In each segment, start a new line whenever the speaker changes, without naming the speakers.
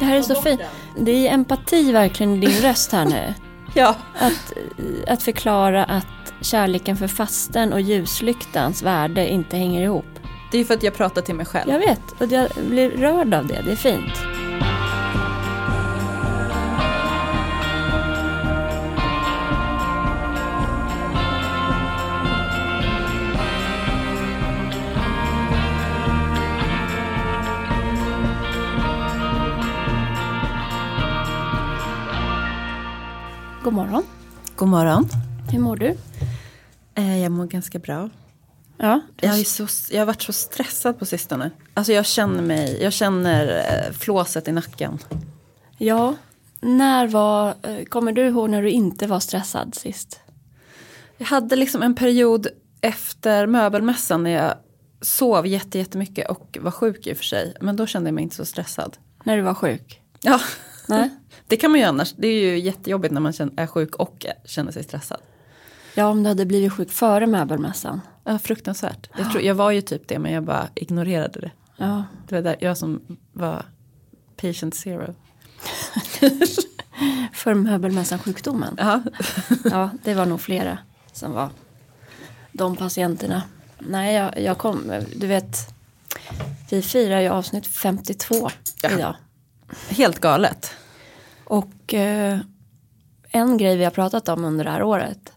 här är så fint. Det är empati verkligen i din röst här nu.
Ja.
Att, att förklara att kärleken för fasten och ljuslyktans värde inte hänger ihop.
Det är ju för att jag pratar till mig själv.
Jag vet, och jag blir rörd av det. Det är fint. God morgon.
God morgon.
Hur mår du?
Eh, Jag mår ganska bra.
Ja,
Jag, är så, jag har varit så stressad på sistone. Alltså jag känner mig, jag känner eh, flåset i nacken.
ja. När var, eh, kommer du ihåg när du inte var stressad sist?
Jag hade liksom en period efter möbelmässan när jag sov jätte- jättemycket och var sjuk i och för sig. Men då kände jag mig inte så stressad. Eh?
När du var sjuk?
Ja,
Nej.
det kan man ju annars. Det är ju jättejobbigt när man känner- är sjuk och känner sig stressad.
Ja, om du hade blivit sjuk före möbelmässan.
Ja, fruktansvärt. Jag, tror, jag var ju typ det men jag bara ignorerade det.
Ja.
Det var där jag som var patient zero.
För möbelmässan-sjukdomen.
Ja.
Ja, det var nog flera som var de patienterna. Nej, jag, jag kom, du vet, vi firar ju avsnitt 52
Ja.
idag.
Helt galet.
Och eh, en grej vi har pratat om under det här året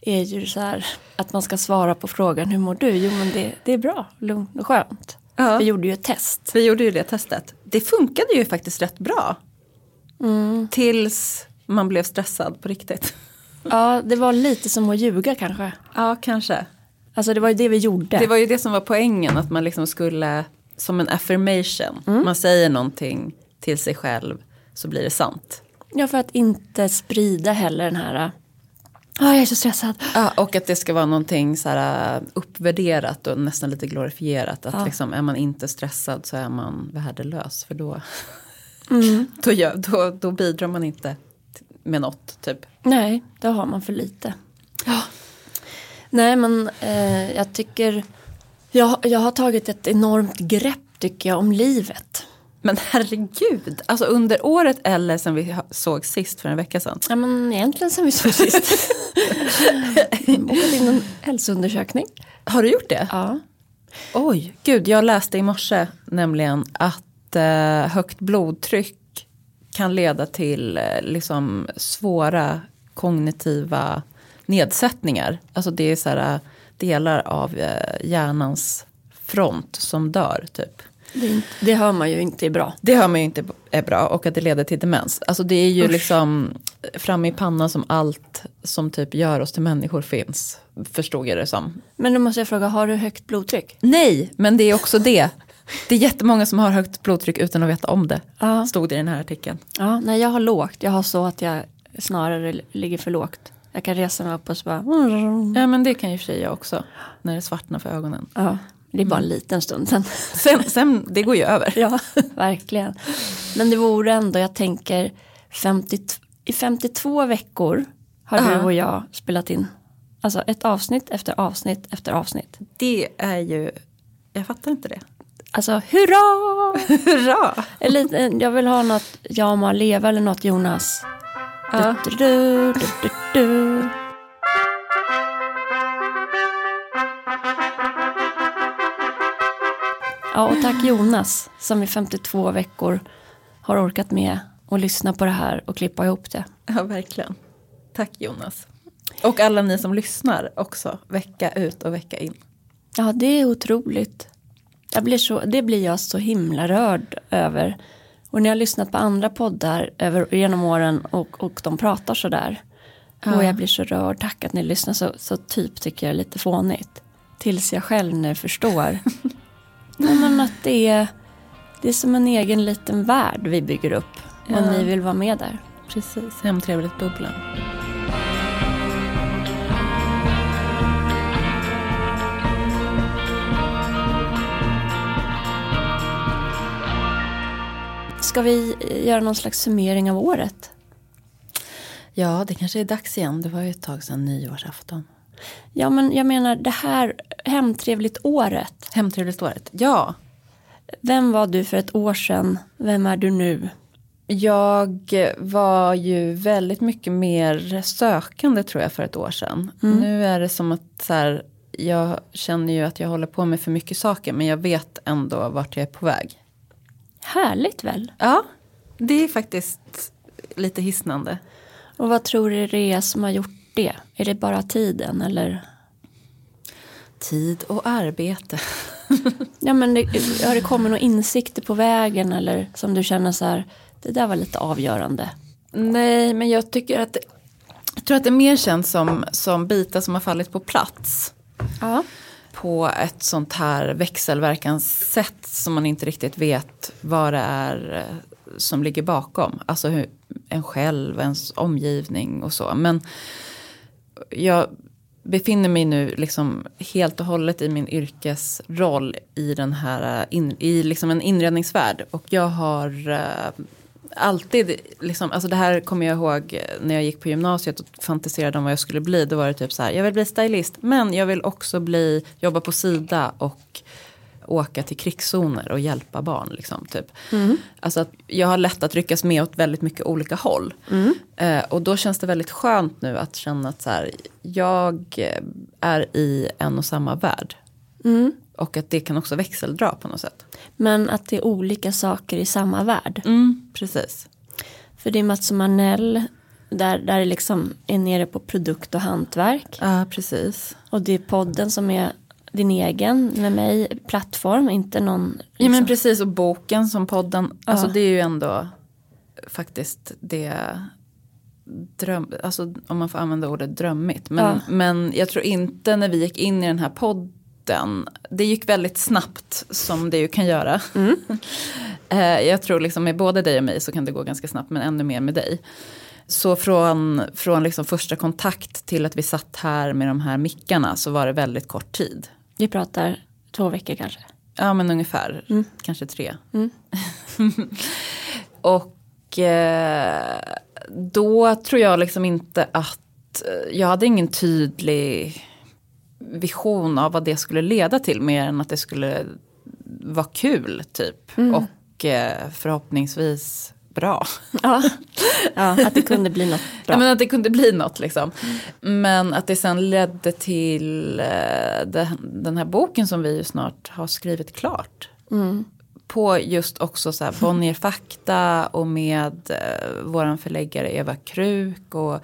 är ju så här att man ska svara på frågan hur mår du? Jo men det, det är bra, lugnt och skönt.
Ja.
Vi gjorde ju ett test.
Vi gjorde ju det testet. Det funkade ju faktiskt rätt bra. Mm. Tills man blev stressad på riktigt.
Ja, det var lite som att ljuga kanske.
Ja, kanske.
Alltså det var ju det vi gjorde.
Det var ju det som var poängen, att man liksom skulle, som en affirmation, man säger någonting till sig själv så blir det sant.
Ja, för att inte sprida heller den här, äh, ah, jag är så stressad,
Ja, och att det ska vara någonting så här äh, uppvärderat och nästan lite glorifierat. Att liksom, är man inte stressad så är man värdelös. För då, då, gör, då, då bidrar man inte t- med något, typ.
Nej, det har man för lite. Nej, men eh, jag tycker... Jag, jag har tagit ett enormt grepp, tycker jag, om livet.
Men herregud, alltså under året eller sen vi ha- såg sist för en vecka sedan.
Ja, men egentligen sen vi såg sist. Bokat in en hälsoundersökning.
Har du gjort det?
Ja.
Oj, gud jag läste i morse nämligen att eh, högt blodtryck kan leda till eh, liksom svåra kognitiva nedsättningar. Alltså det är så här, eh, delar av eh, hjärnans front som dör typ.
Det, är inte, det hör man ju inte är bra.
Det hör man ju inte är bra och att det leder till demens. Alltså det är ju liksom fram i pannan som allt som typ gör oss till människor finns. Förstod jag det som.
Men då måste jag fråga, har du högt blodtryck?
Nej, men det är också det. Det är jättemånga som har högt blodtryck utan att veta om det.
Ja.
Stod det i den här artikeln.
Ja, nej, jag har lågt. Jag har så att jag snarare ligger för lågt. Jag kan resa mig upp och så bara... mm,
Ja, men det kan ju i och för sig jag också. När det svartnar för ögonen.
Ja, det är bara en liten stund sen.
Sen, sen det går ju över.
Ja, verkligen. Men det vore ändå, jag tänker, 50, i 52 veckor har du
Ja.
och jag spelat in. Alltså ett avsnitt efter avsnitt efter avsnitt.
Det är ju, jag fattar inte det.
Alltså hurra!
Hurra!
Eller, eh, jag vill ha något Jag må leva eller något Jonas.
Ja.
Du, du, du, du, du. Ja, och tack Jonas som i 52 veckor har orkat med och lyssna på det här och klippa ihop det.
Ja, verkligen. Tack Jonas. Och alla ni som lyssnar också, vecka ut och vecka in.
Ja, det är otroligt. Jag blir så, det blir jag så himla rörd över. Och när jag har lyssnat på andra poddar över, genom åren och, och de pratar så där. Och jag blir så rörd, tack att ni lyssnar, så, så typ tycker jag är lite fånigt. Tills jag själv nu förstår. Nej, men att det är, det är som en egen liten värld vi bygger upp. Och ni vill vara med där.
Precis, hemtrevligt bubblan.
Ska vi göra någon slags summering av året?
Ja, det kanske är dags igen. Det var ju ett tag sedan nyårsafton.
Ja, men jag menar det här hemtrevligt året.
Hemtrevligt året. Ja,
Vem var du för ett år sedan? Vem är du nu?
Jag var ju väldigt mycket mer sökande tror jag för ett år sedan. Nu är det som att så här, jag känner ju att jag håller på med för mycket saker men jag vet ändå vart jag är på väg.
Härligt väl.
Ja, det är faktiskt lite hisnande.
Och vad tror du det är som har gjort det? Är det bara tiden eller?
Tid och arbete.
Ja men det, har det kommit några insikter på vägen eller som du känner så här, det där var lite avgörande.
Nej, men jag tycker att det, jag tror att det mer känns som, som bitar som har fallit på plats.
Ja.
På ett sånt här växelverkanssätt som man inte riktigt vet vad det är eh, som ligger bakom. Alltså hur, en själv, ens omgivning och så. Men jag befinner mig nu liksom helt och hållet i min yrkesroll i, den här, eh, in, i liksom en inredningsvärld. Och jag har eh, alltid, liksom, alltså det här kommer jag ihåg eh, när jag gick på gymnasiet och fantiserade om vad jag skulle bli. Då var det typ så här, jag vill bli stylist men jag vill också bli, jobba på Sida och åka till krigszoner och hjälpa barn. Liksom, typ. Alltså att jag har lätt att ryckas med åt väldigt mycket olika håll. Eh, och då känns det väldigt skönt nu att känna att så här, jag eh, är i en och samma värld. Och att det kan också växeldra på något sätt.
Mm. Men att det är olika saker i samma värld.
Mm. Precis.
För det är Mats och Manell där, där det liksom är nere på produkt och hantverk.
Ja, precis.
Och det är podden som är din egen med mig, plattform, inte någon.
Ja men
liksom.
precis och boken som podden. Alltså det är ju ändå faktiskt det dröm, alltså om man får använda ordet drömmigt. Men, men jag tror inte när vi gick in i den här podden, det gick väldigt snabbt som det ju kan göra. Eh, jag tror liksom med både dig och mig så kan det gå ganska snabbt men ännu mer med dig. Så från, från liksom första kontakt till att vi satt här med de här mickarna så var det väldigt kort tid.
Vi pratar två veckor kanske.
Ja men ungefär, kanske tre. och eh, då tror jag liksom inte att, eh, jag hade ingen tydlig vision av vad det skulle leda till mer än att det skulle vara kul typ. Och eh, förhoppningsvis bra.
Ja. ja, att det kunde bli något bra.
Ja, men att det kunde bli något liksom. Men att det sen ledde till eh, det- den här boken som vi ju snart har skrivit klart.
Mm.
På just också så här Bonnier Fakta och med eh, våran förläggare Eva Kruk och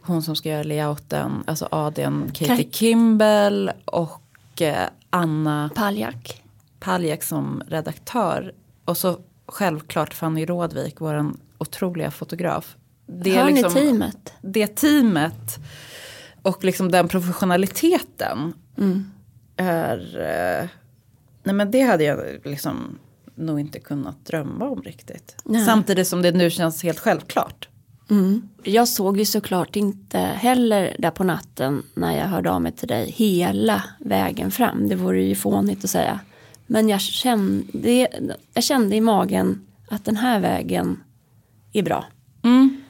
hon som ska göra layouten, alltså ADn Katie
Tack.
Kimball och eh, Anna
Paljak.
Paljak som redaktör. Och så självklart Fanny Rådvik, vår otroliga fotograf. Det liksom-
Hör ni teamet?
Det teamet och liksom den professionaliteten är... eh, Nej men det hade jag liksom nog inte kunnat drömma om riktigt.
Nej.
Samtidigt som det nu känns helt självklart.
Jag såg ju såklart inte heller där på natten när jag hörde av mig till dig hela vägen fram. Det vore ju fånigt att säga. Men jag kände, jag kände i magen att den här vägen är bra. Mm.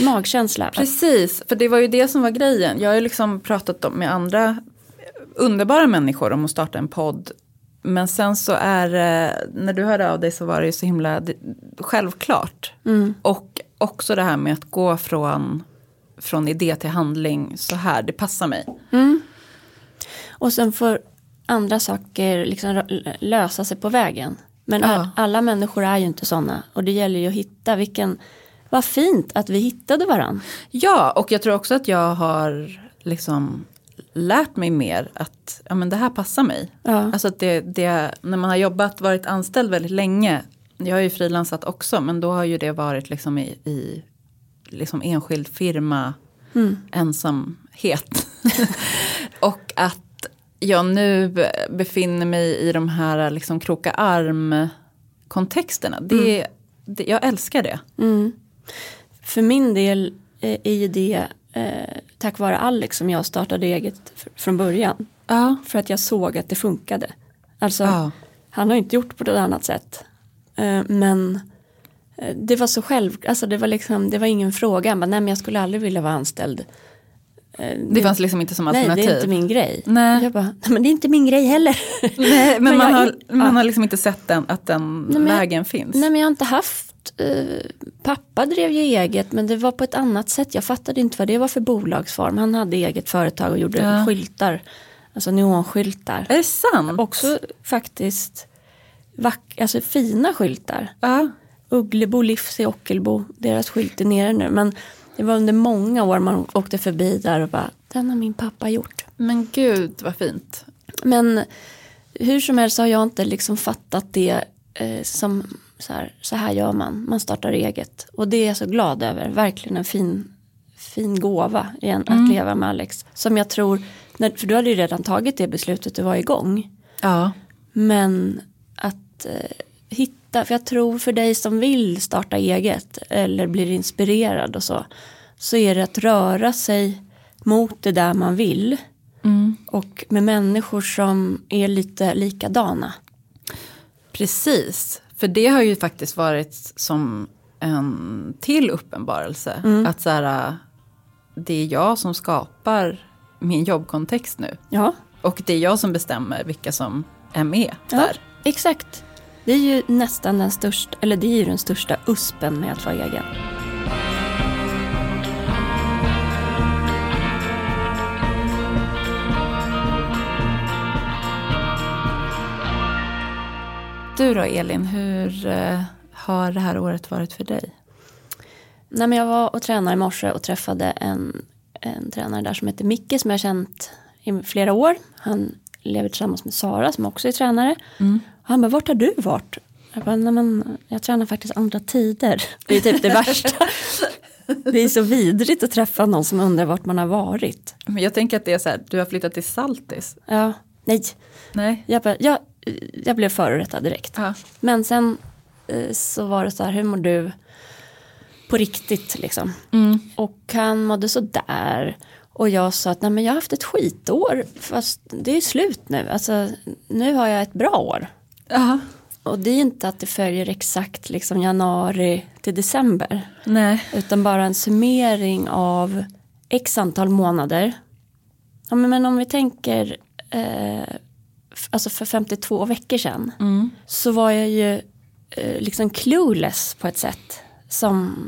Magkänsla.
Precis, för det var ju det som var grejen. Jag har ju liksom pratat om med andra underbara människor om att starta en podd. Men sen så är eh, när du hörde av dig så var det ju så himla det- självklart. Och också det här med att gå från, från idé till handling så här, det passar mig.
Och sen får andra saker liksom rö- lösa sig på vägen. Men all, alla människor är ju inte sådana. Och det gäller ju att hitta vilken... Vad fint att vi hittade varandra.
Ja, och jag tror också att jag har liksom lärt mig mer att ja, men det här passar mig.
Ja.
Alltså att det, det, när man har jobbat, varit anställd väldigt länge, jag har ju frilansat också, men då har ju det varit liksom i, i liksom enskild firma, ensamhet. och att jag nu befinner mig i de här liksom kroka arm-kontexterna. Det, det, jag älskar det.
För min del eh, är ju det eh, tack vare Alex som jag startade eget fr- från början.
Ja.
För att jag såg att det funkade. Alltså,
Ja.
han har ju inte gjort på något annat sätt. Eh, men eh, det var så själv, alltså det var liksom, det var ingen fråga. Han bara, nej men jag skulle aldrig vilja vara anställd.
Det fanns liksom inte som
Nej,
alternativ.
det är inte min grej.
Nej.
Jag bara, nej men det är inte min grej heller.
Eh. Nej, men,
Men
man,
jag
har,
in-
man har liksom inte sett den, att den
men jag-
vägen finns.
nej men jag har inte haft eh, pappa drev ju eget men det var på ett annat sätt. Jag fattade inte vad det var för bolagsform. Han hade eget företag och gjorde
Ja. Mm.
skyltar. Alltså neonskyltar.
Är det sant?
Också faktiskt vack- alltså, fina skyltar.
Ja.
Ugglebo, Livsi, Ockelbo, deras skylt är nere nu. Men det var under många år man åkte förbi där och bara, den har min pappa gjort.
Men gud vad fint.
Men hur som helst har jag inte liksom fattat det eh, som så här, så här gör man, man startar eget. Och det är jag så glad över, verkligen en fin, fin gåva igen, att leva med Alex. Som jag tror, när, för du hade ju redan tagit det beslutet du var igång.
Ja.
Men att eh, hitta, för jag tror för dig som vill starta eget eller blir inspirerad och så, så är det att röra sig mot det där man vill och med människor som är lite likadana.
Precis, för det har ju faktiskt varit som en till uppenbarelse. Att så här, äh, det är jag som skapar min jobbkontext nu.
Ja,
Och det är jag som bestämmer vilka som är med
ja
där.
exakt. Det är ju nästan den största, eller det är ju den största uspen med att vara egen.
Du då Elin, hur äh, har det här året varit för dig?
Nej, men jag var och tränade i morse och träffade en, en tränare där som heter Micke som jag har känt i flera år. Han lever tillsammans med Sara som också är tränare. Och han bara, vart har du varit? Jag bara, nej men jag tränar faktiskt andra tider. Det är typ det värsta. Det är så vidrigt att träffa någon som undrar vart man har varit.
Men jag tänker att det är så här, du har flyttat till Saltis.
Ja, nej,
Nej.
jag, bara, jag, jag blev förorättad direkt.
Ja.
Men sen eh, så var det så här, hur mår du på riktigt liksom?
Mm.
Och han mådde sådär. Och jag sa att nej men jag har haft ett skitår fast det är slut nu. Alltså nu har jag ett bra år.
Ja.
Och det är inte att det följer exakt liksom januari till december.
Nej.
Utan bara en summering av x antal månader. Ja, men, men om vi tänker eh, f- alltså för 52 veckor sedan. Så var jag ju eh, liksom clueless på ett sätt. Som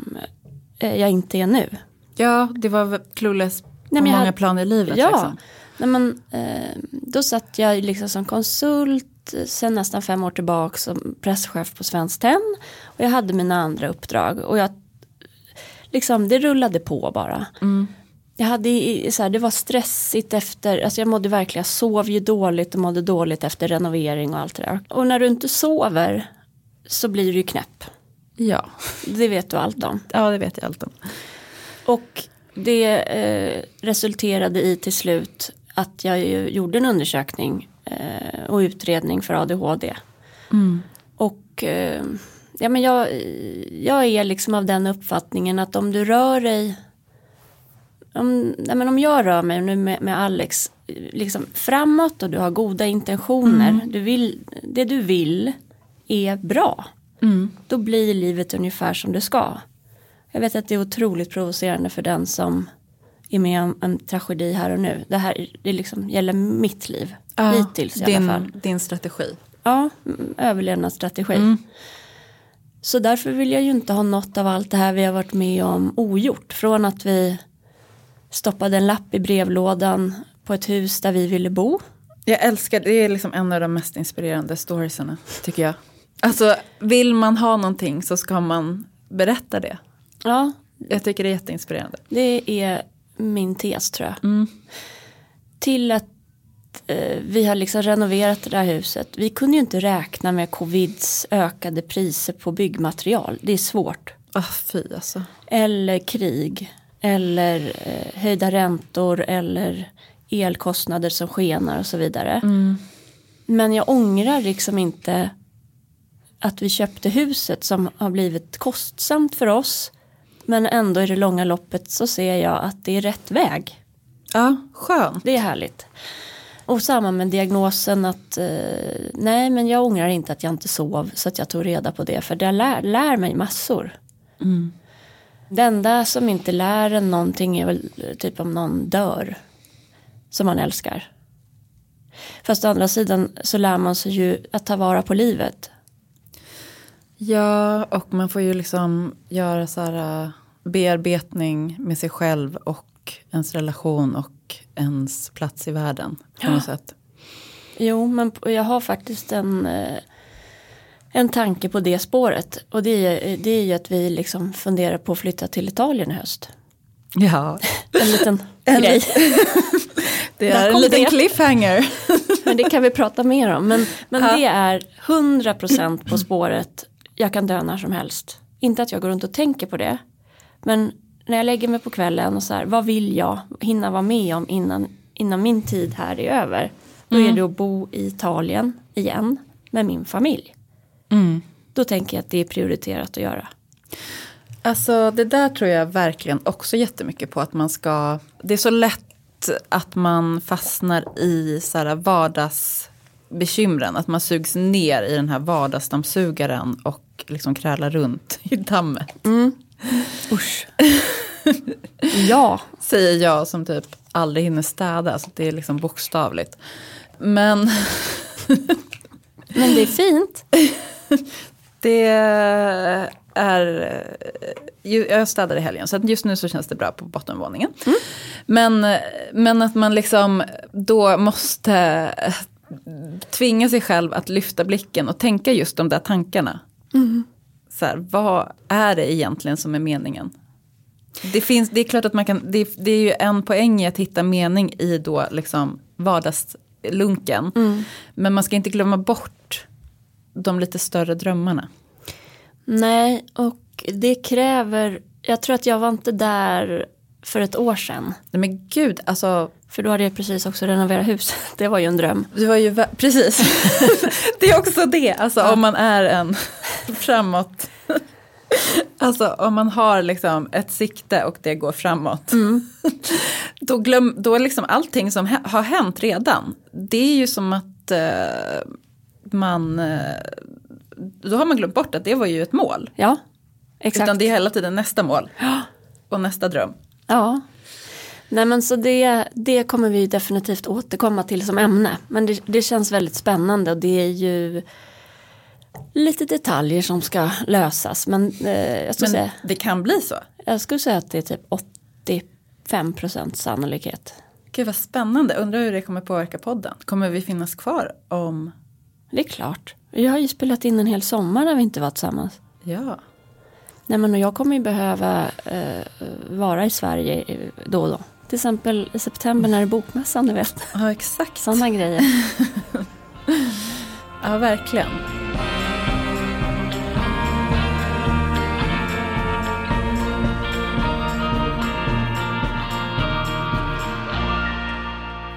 eh, jag inte är nu.
Ja, det var väl clueless på
men jag
många
hade-
plan i livet.
Ja,
Liksom.
Nej, men, eh, då satt jag liksom som konsult eh, sen nästan fem år tillbaka som presschef på Svenskt Tenn. Och jag hade mina andra uppdrag och jag, liksom, det rullade på bara. Jag hade, i- i- så här, det var stressigt efter, alltså jag mådde verkligen, jag sov ju dåligt och mådde dåligt efter renovering och allt det där. Och när du inte sover så blir du ju knäpp.
Ja.
Det vet du allt om.
ja, det vet jag allt om.
Och det eh, resulterade i till slut att jag ju gjorde en undersökning eh, och utredning för ADHD. Mm. Och eh, ja, men jag, jag är liksom av den uppfattningen att om du rör dig om, nej men om jag rör mig nu med, med Alex eh, liksom framåt och du har goda intentioner, du vill, det du vill är bra.
Mm.
Då blir livet ungefär som det ska. Jag vet att det är otroligt provocerande för den som är med om en tragedi här och nu. Det här det liksom gäller mitt liv,
Ja,
hittills i
din,
alla fall.
Din strategi.
Ja, mm, överlevnadsstrategi.
Mm.
Så därför vill jag ju inte ha något av allt det här vi har varit med om ogjort. Från att vi stoppade en lapp i brevlådan på ett hus där vi ville bo.
Jag älskar, det är liksom en av de mest inspirerande storiesarna tycker jag. Alltså vill man ha någonting så ska man berätta det.
Ja,
Jag tycker det är jätteinspirerande.
det är min tes tror jag. Till att eh, vi har liksom renoverat det där huset. Vi kunde ju inte räkna med covids ökade priser på byggmaterial. Det är svårt.
Ah fy alltså.
eller krig eller eh, höjda räntor eller elkostnader som skenar och så vidare. Men jag ångrar liksom inte att vi köpte huset som har blivit kostsamt för oss. Men ändå i det långa loppet så ser jag att det är rätt väg.
Ja, skön.
Det är härligt. Och samma med diagnosen att eh, nej men jag ångrar inte att jag inte sov så att jag tog reda på det för det lär, lär mig massor. Det enda som inte lär en någonting är väl typ om någon dör som man älskar. Fast å andra sidan så lär man sig ju att ta vara på livet.
Ja, och man får ju liksom göra så här, äh, bearbetning med sig själv och ens relation och ens plats i världen. På något sätt.
Jo, men p- jag har faktiskt en, eh, en tanke på det spåret. Och det är, det är ju att vi liksom funderar på att flytta till Italien i höst.
Ja,
En liten grej.
det
Där
är en
kom
liten
det.
cliffhanger.
Men det kan vi prata mer om. Men, men
Ja.
det är 100% på spåret. Jag kan dö när som helst. Inte att jag går runt och tänker på det. Men när jag lägger mig på kvällen och så här, vad vill jag hinna vara med om innan, innan min tid här är över? Då är det att bo i Italien igen med min familj.
Mm.
Då tänker jag att det är prioriterat att göra.
Alltså det där tror jag verkligen också jättemycket på att man ska, det är så lätt att man fastnar i så här äh, vardagsbekymren, att man sugs ner i den här vardagsdammsugaren och liksom krälar runt i dammet.
Usch. ja,
Säger jag som typ aldrig hinner städa, så det är liksom bokstavligt. Men
men det är fint.
det är, eh, ju- jag städar i helgen så att just nu så känns det bra på bottenvåningen. Men, men att man liksom då måste eh, tvinga sig själv att lyfta blicken och tänka just de där tankarna. Så här, vad är det egentligen som är meningen? Det, finns, det är klart att man kan, det, det är ju en poäng i att hitta mening i då liksom vardagslunken. Men man ska inte glömma bort de lite större drömmarna.
Nej, och det kräver, jag tror att jag var inte där för ett år sedan.
Nej men gud, alltså
För då hade jag precis också renoverat huset. Det var ju en dröm.
du var ju, vä- precis. det är också det, alltså om man är en framåt. Alltså om man har liksom ett sikte och det går framåt.
Mm.
Då glöm, då är liksom allting som hä- har hänt redan. Det är ju som att eh, man, eh, då har man glömt bort att det var ju ett mål.
Ja, exakt.
Utan det är hela tiden nästa mål. Och nästa dröm.
Ja. Nej men så det, det kommer vi ju definitivt återkomma till som ämne. Men det, det känns väldigt spännande och det är ju lite detaljer som ska lösas. Men, eh, jag, skulle
Men
säga,
det kan bli så.
jag skulle säga att det är typ 85% sannolikhet.
Gud vad spännande, undrar hur det kommer påverka podden. Kommer vi finnas kvar om...
Det är klart. Jag har ju spelat in en hel sommar när vi inte var tillsammans.
Ja.
Nej men och jag kommer ju behöva eh, vara i Sverige eh, då och då. Till exempel i september när det är bokmässan, du vet.
Ja exakt.
Sådana grejer.
Ja verkligen.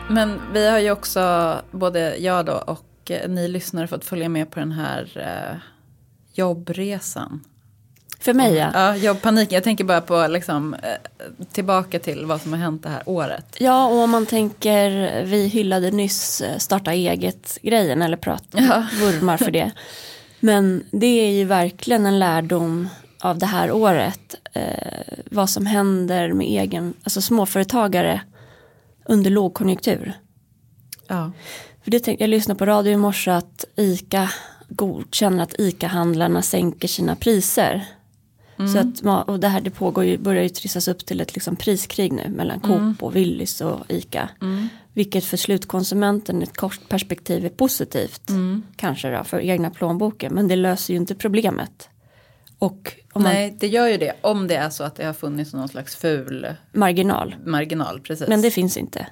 Men vi har ju också, både jag då och eh, ni lyssnare fått följa med på den här eh, jobbresan.
För mig ja.
Ja, jobbpaniken. Jag tänker bara på liksom, eh, tillbaka till vad som har hänt det här året.
Ja och om man tänker, eh, vi hyllade nyss eh, starta eget-grejen eller prat, vurmar för det. Men det är ju verkligen en lärdom av det här året. Eh, vad som händer med egen, alltså småföretagare under lågkonjunktur.
Ja.
För det tänkte, jag lyssnade på radio i morse att ICA godkänner att ICA-handlarna sänker sina priser. Så att, ma- och det här det pågår ju, börjar ju trissas upp till ett liksom priskrig nu mellan Coop och Willys och ICA. Vilket för slutkonsumenten i ett kort perspektiv är positivt. Kanske då för egna plånboken men det löser ju inte problemet. Och om man,
Nej, det gör ju det. Om det är så att det har funnits någon slags ful
marginal.
marginal. Precis.
Men det finns inte.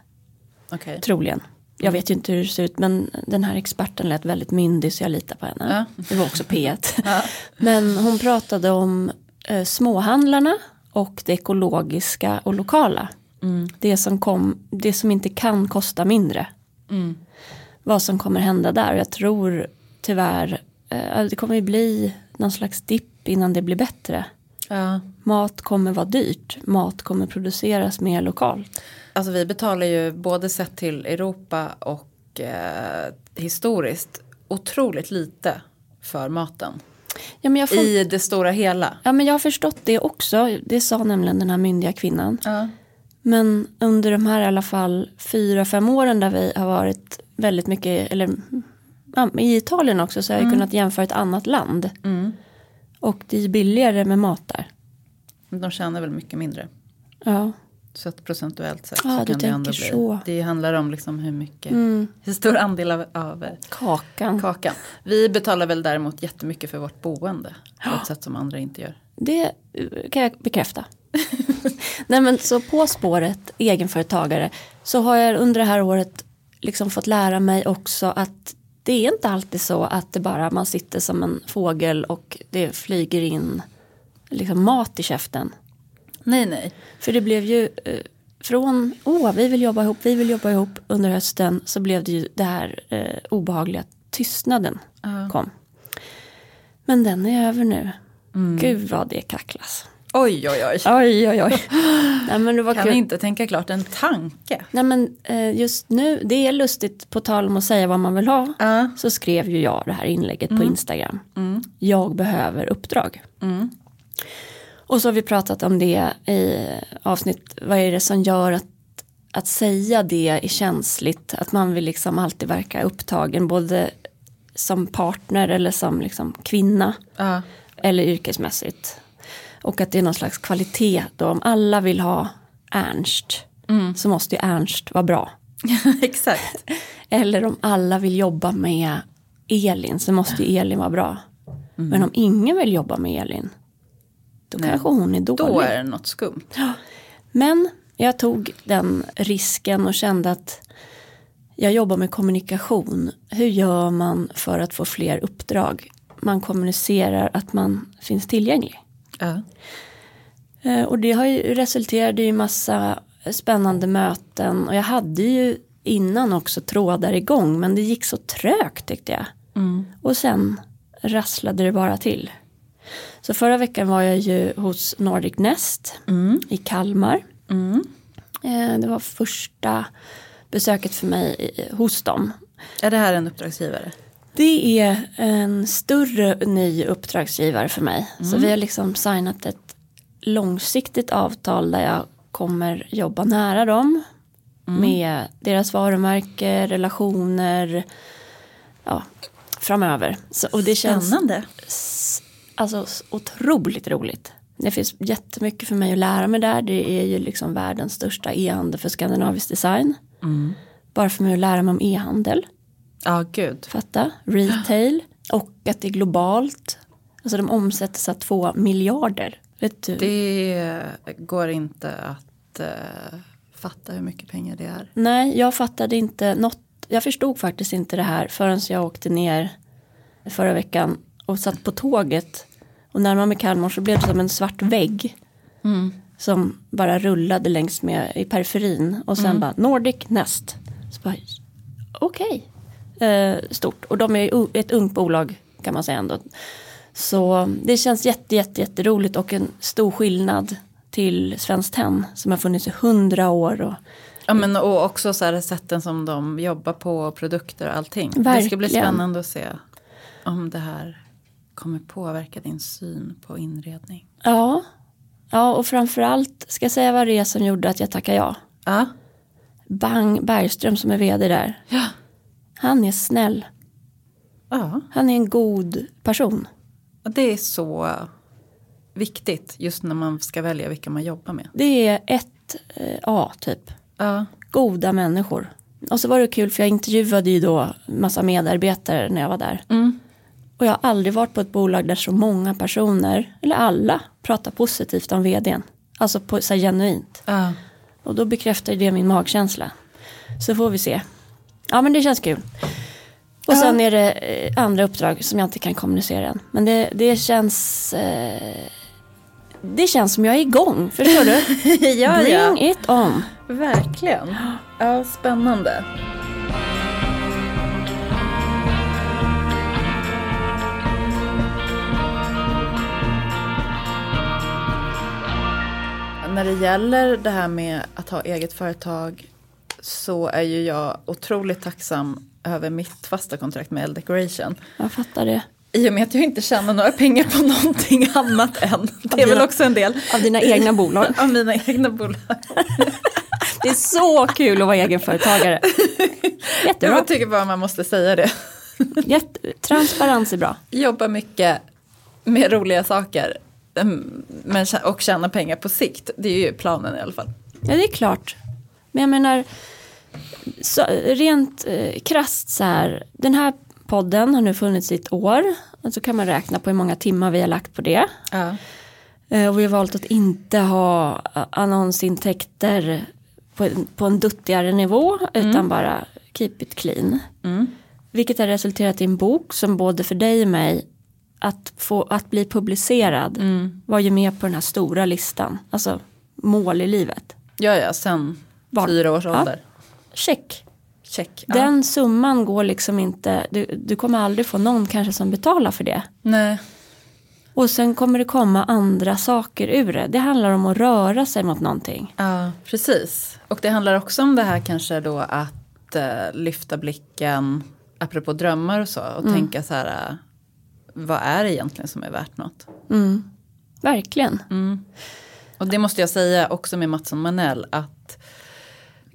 Okej.
Troligen. Jag vet ju inte hur det ser ut men den här experten lät väldigt myndig så jag litar på henne.
Ja.
Det var också P1.
Ja.
Men hon pratade om eh, småhandlarna och det ekologiska och lokala. Det, som kom, det som inte kan kosta mindre. Mm. Vad som kommer hända där. Jag tror tyvärr eh, det kommer ju bli någon slags dipp innan det blir bättre.
Ja.
Mat kommer vara dyrt. Mat kommer produceras mer lokalt.
Alltså vi betalar ju både sett till Europa och eh, historiskt otroligt lite för maten.
Ja, men jag får
I det stora hela.
Ja men jag har förstått det också. Det sa nämligen den här myndiga kvinnan.
Ja.
Men under de här i alla fall fyra, fem åren där vi har varit
Mm.
väldigt mycket, eller ja, i Italien också så har jag kunnat jämföra ett annat land. Och det är ju billigare med mat där.
Men De tjänar väl mycket mindre.
Ja.
Så att procentuellt sett
Ja,
så
du
kan det ändå
tänker
bli.
så.
Det handlar om liksom hur mycket.
Mm.
Hur stor andel av, av eh,
Kakan.
kakan. Vi betalar väl däremot jättemycket för vårt boende. På ett sätt som andra inte gör.
Det eh, kan jag bekräfta. Nej men så på spåret egenföretagare så har jag under det här året liksom fått lära mig också att det är inte alltid så att det bara man sitter som en fågel och det flyger in liksom mat i käften.
Nej, nej.
För det blev ju eh, från, åh vi vill jobba ihop, vi vill jobba ihop under hösten så blev det ju det här eh, obehagliga tystnaden
Ja.
kom. Men den är över nu. Gud vad det kacklas.
Oj, oj, oj.
Oj, oj, oj. Nej, men det var
Kan
kul.
inte tänka klart en tanke.
Nej, men eh, just nu, det är lustigt, på tal om att säga vad man vill ha,
Ja. Mm.
så skrev ju jag det här inlägget på Instagram. Jag behöver uppdrag.
Mm.
Och så har vi pratat om det i avsnitt, vad är det som gör att, att säga det är känsligt, att man vill liksom alltid verka upptagen, både som partner eller som liksom kvinna
Ja.
eller yrkesmässigt. Och att det är någon slags kvalitet då. Om alla vill ha Ernst så måste ju Ernst vara bra.
Exakt.
Eller om alla vill jobba med Elin så måste ju Elin vara bra. Men om ingen vill jobba med Elin då
Nej.
kanske hon är dålig.
Då är det något skumt.
Men jag tog den risken och kände att jag jobbar med kommunikation. Hur gör man för att få fler uppdrag? Man kommunicerar att man finns tillgänglig.
Ja.
Eh, Och det har ju resulterat i massa spännande möten och jag hade ju innan också trådar igång men det gick så trögt tyckte jag. Och sen rasslade det bara till. Så förra veckan var jag ju hos Nordic Nest i Kalmar. Eh, Det var första besöket för mig i- hos dem.
Är det här en uppdragsgivare?
Det är en större ny uppdragsgivare för mig. Så vi har liksom signat ett långsiktigt avtal där jag kommer jobba nära dem. Med deras varumärke, relationer, ja, framöver. Så, och det känns
Spännande.
s- alltså, s- otroligt roligt. Det finns jättemycket för mig att lära mig där. Det är ju liksom världens största e-handel för skandinavisk design. Bara för mig att lära mig om e-handel
Ja, gud.
fatta, retail och att det är globalt. Alltså de omsätter så här två miljarder. Vet du?
Det går inte att eh, fatta hur mycket pengar det är.
Nej, jag fattade inte något. Jag förstod faktiskt inte det här förrän jag åkte ner förra veckan och satt på tåget. Och närmare mig Kalmar så blev det som en svart vägg.
Mm.
Som bara rullade längs med i periferin. Och sen bara Nordic Nest. Så bara, Okej, eh, stort. Och de är ju o- ett ungt bolag kan man säga ändå. Så det känns jätte, jätte, jätteroligt och en stor skillnad till Svenskt Tenn som har funnits i hundra år. Och
Ja, men, och också så här sätten som de jobbar på, produkter och allting. Det ska bli
Verkligen.
spännande att se om det här kommer påverka din syn på inredning.
Ja. ja, och framförallt ska jag säga vad det är som gjorde att jag tackade ja.
Ja,
Bang Bergström som är vd där.
ja.
Han är snäll.
ja.
Han är en god person.
det är så viktigt just när man ska välja vilka man jobbar med.
Det är ett eh, A typ.
Ja,
Goda människor. Och så var det kul för jag intervjuade ju då massa medarbetare när jag var där.
mm.
Och jag har aldrig varit på ett bolag där så många personer, eller alla, pratar positivt om vdn. Alltså på, så här, genuint.
ja.
Och då bekräftar ju det min magkänsla. Så får vi se. Ja men det känns kul. Och
Ja.
sen är det eh, andra uppdrag som jag inte kan kommunicera än. Men det, det känns... Eh, det känns som jag är igång, förstår du?
ja,
Bring
ja.
it on.
Verkligen. Ja, spännande. När det gäller det här med att ha eget företag så är ju jag otroligt tacksam över mitt fasta kontrakt med L-Decoration.
Jag fattar det.
I och med att jag inte tjänar några pengar på någonting annat än. Det är
dina-
väl också en del.
Av dina egna bolag.
Av mina egna bolag.
Det är så kul att vara egenföretagare. Jättebra.
Jag tycker bara man måste säga det.
Jätte, transparens är bra.
Jobba mycket, med roliga saker mm, men, tjä- och tjäna pengar på sikt. Det är ju planen i alla fall.
Ja, det är klart. Men jag menar, så, rent eh, krasst så här, den här podden har nu funnits i ett år. Och så kan man räkna på hur många timmar vi har lagt på det.
Ja.
Eh, och vi har valt att inte ha eh, annonsintäkter på, en- på en duttigare nivå utan bara keep it clean.
Mm,
Vilket har resulterat i en bok som både för dig och mig att, få, att bli publicerad
Mm.
var ju med på den här stora listan. Alltså mål i livet.
Ja, ja, sen
Barn.
fyra års
Ja.
ålder.
Check.
Check. Ja.
Den summan går liksom inte, du, du kommer aldrig få någon kanske som betalar för det.
Nej.
Och sen kommer det komma andra saker ur det. Det handlar om att röra sig mot någonting.
Ja, precis. Och det handlar också om det här kanske då att eh, lyfta blicken, apropå drömmar och så, och tänka så här, eh, vad är det egentligen som är värt något?
Mm. Verkligen.
Mm. Och det måste jag säga också med Mattsson Manell, att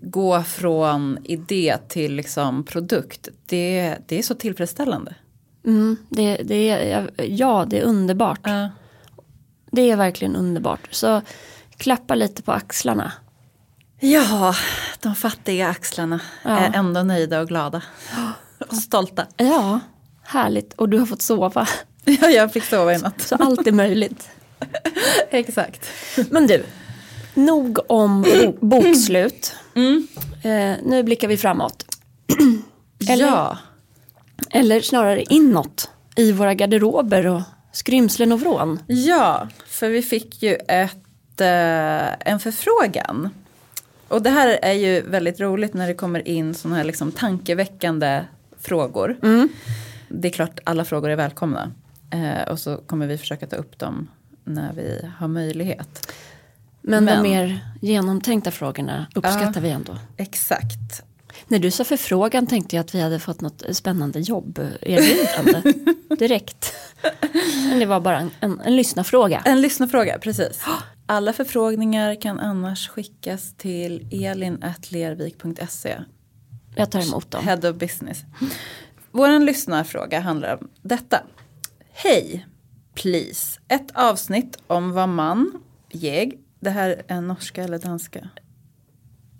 gå från idé till liksom produkt, det, det är så tillfredsställande.
Mm, det, det är, ja, det är underbart.
Ja.
Det är verkligen underbart. Så klappa lite på axlarna.
Ja, de fattiga axlarna
Ja.
är ändå nöjda och glada. Och stolta.
Ja, härligt. Och du har fått sova.
Ja, jag fick sova i natt.
Så allt är möjligt.
Exakt.
Men du, nog om bo- bokslut. Eh, nu blickar vi framåt. Eller-
Ja.
Eller snarare inåt i våra garderober och skrymslen och vrån.
Ja, för vi fick ju ett, eh, en förfrågan. Och det här är ju väldigt roligt när det kommer in sådana här liksom tankeväckande frågor.
Mm.
Det är klart alla frågor är välkomna. Eh, och så kommer vi försöka ta upp dem när vi har möjlighet.
Men,
Men-
de mer genomtänkta frågorna uppskattar vi ändå.
Exakt.
När du sa förfrågan tänkte jag att vi hade fått något spännande jobb erbjudande direkt. Men det var bara en, en, en lyssnarfråga.
En lyssnarfråga, precis. Alla förfrågningar kan annars skickas till elin.lervik.se
Jag tar emot dem.
Head of business. Vår lyssnarfråga handlar om detta. Hej, please. Ett avsnitt om vad man, jag, det här är norska eller danska.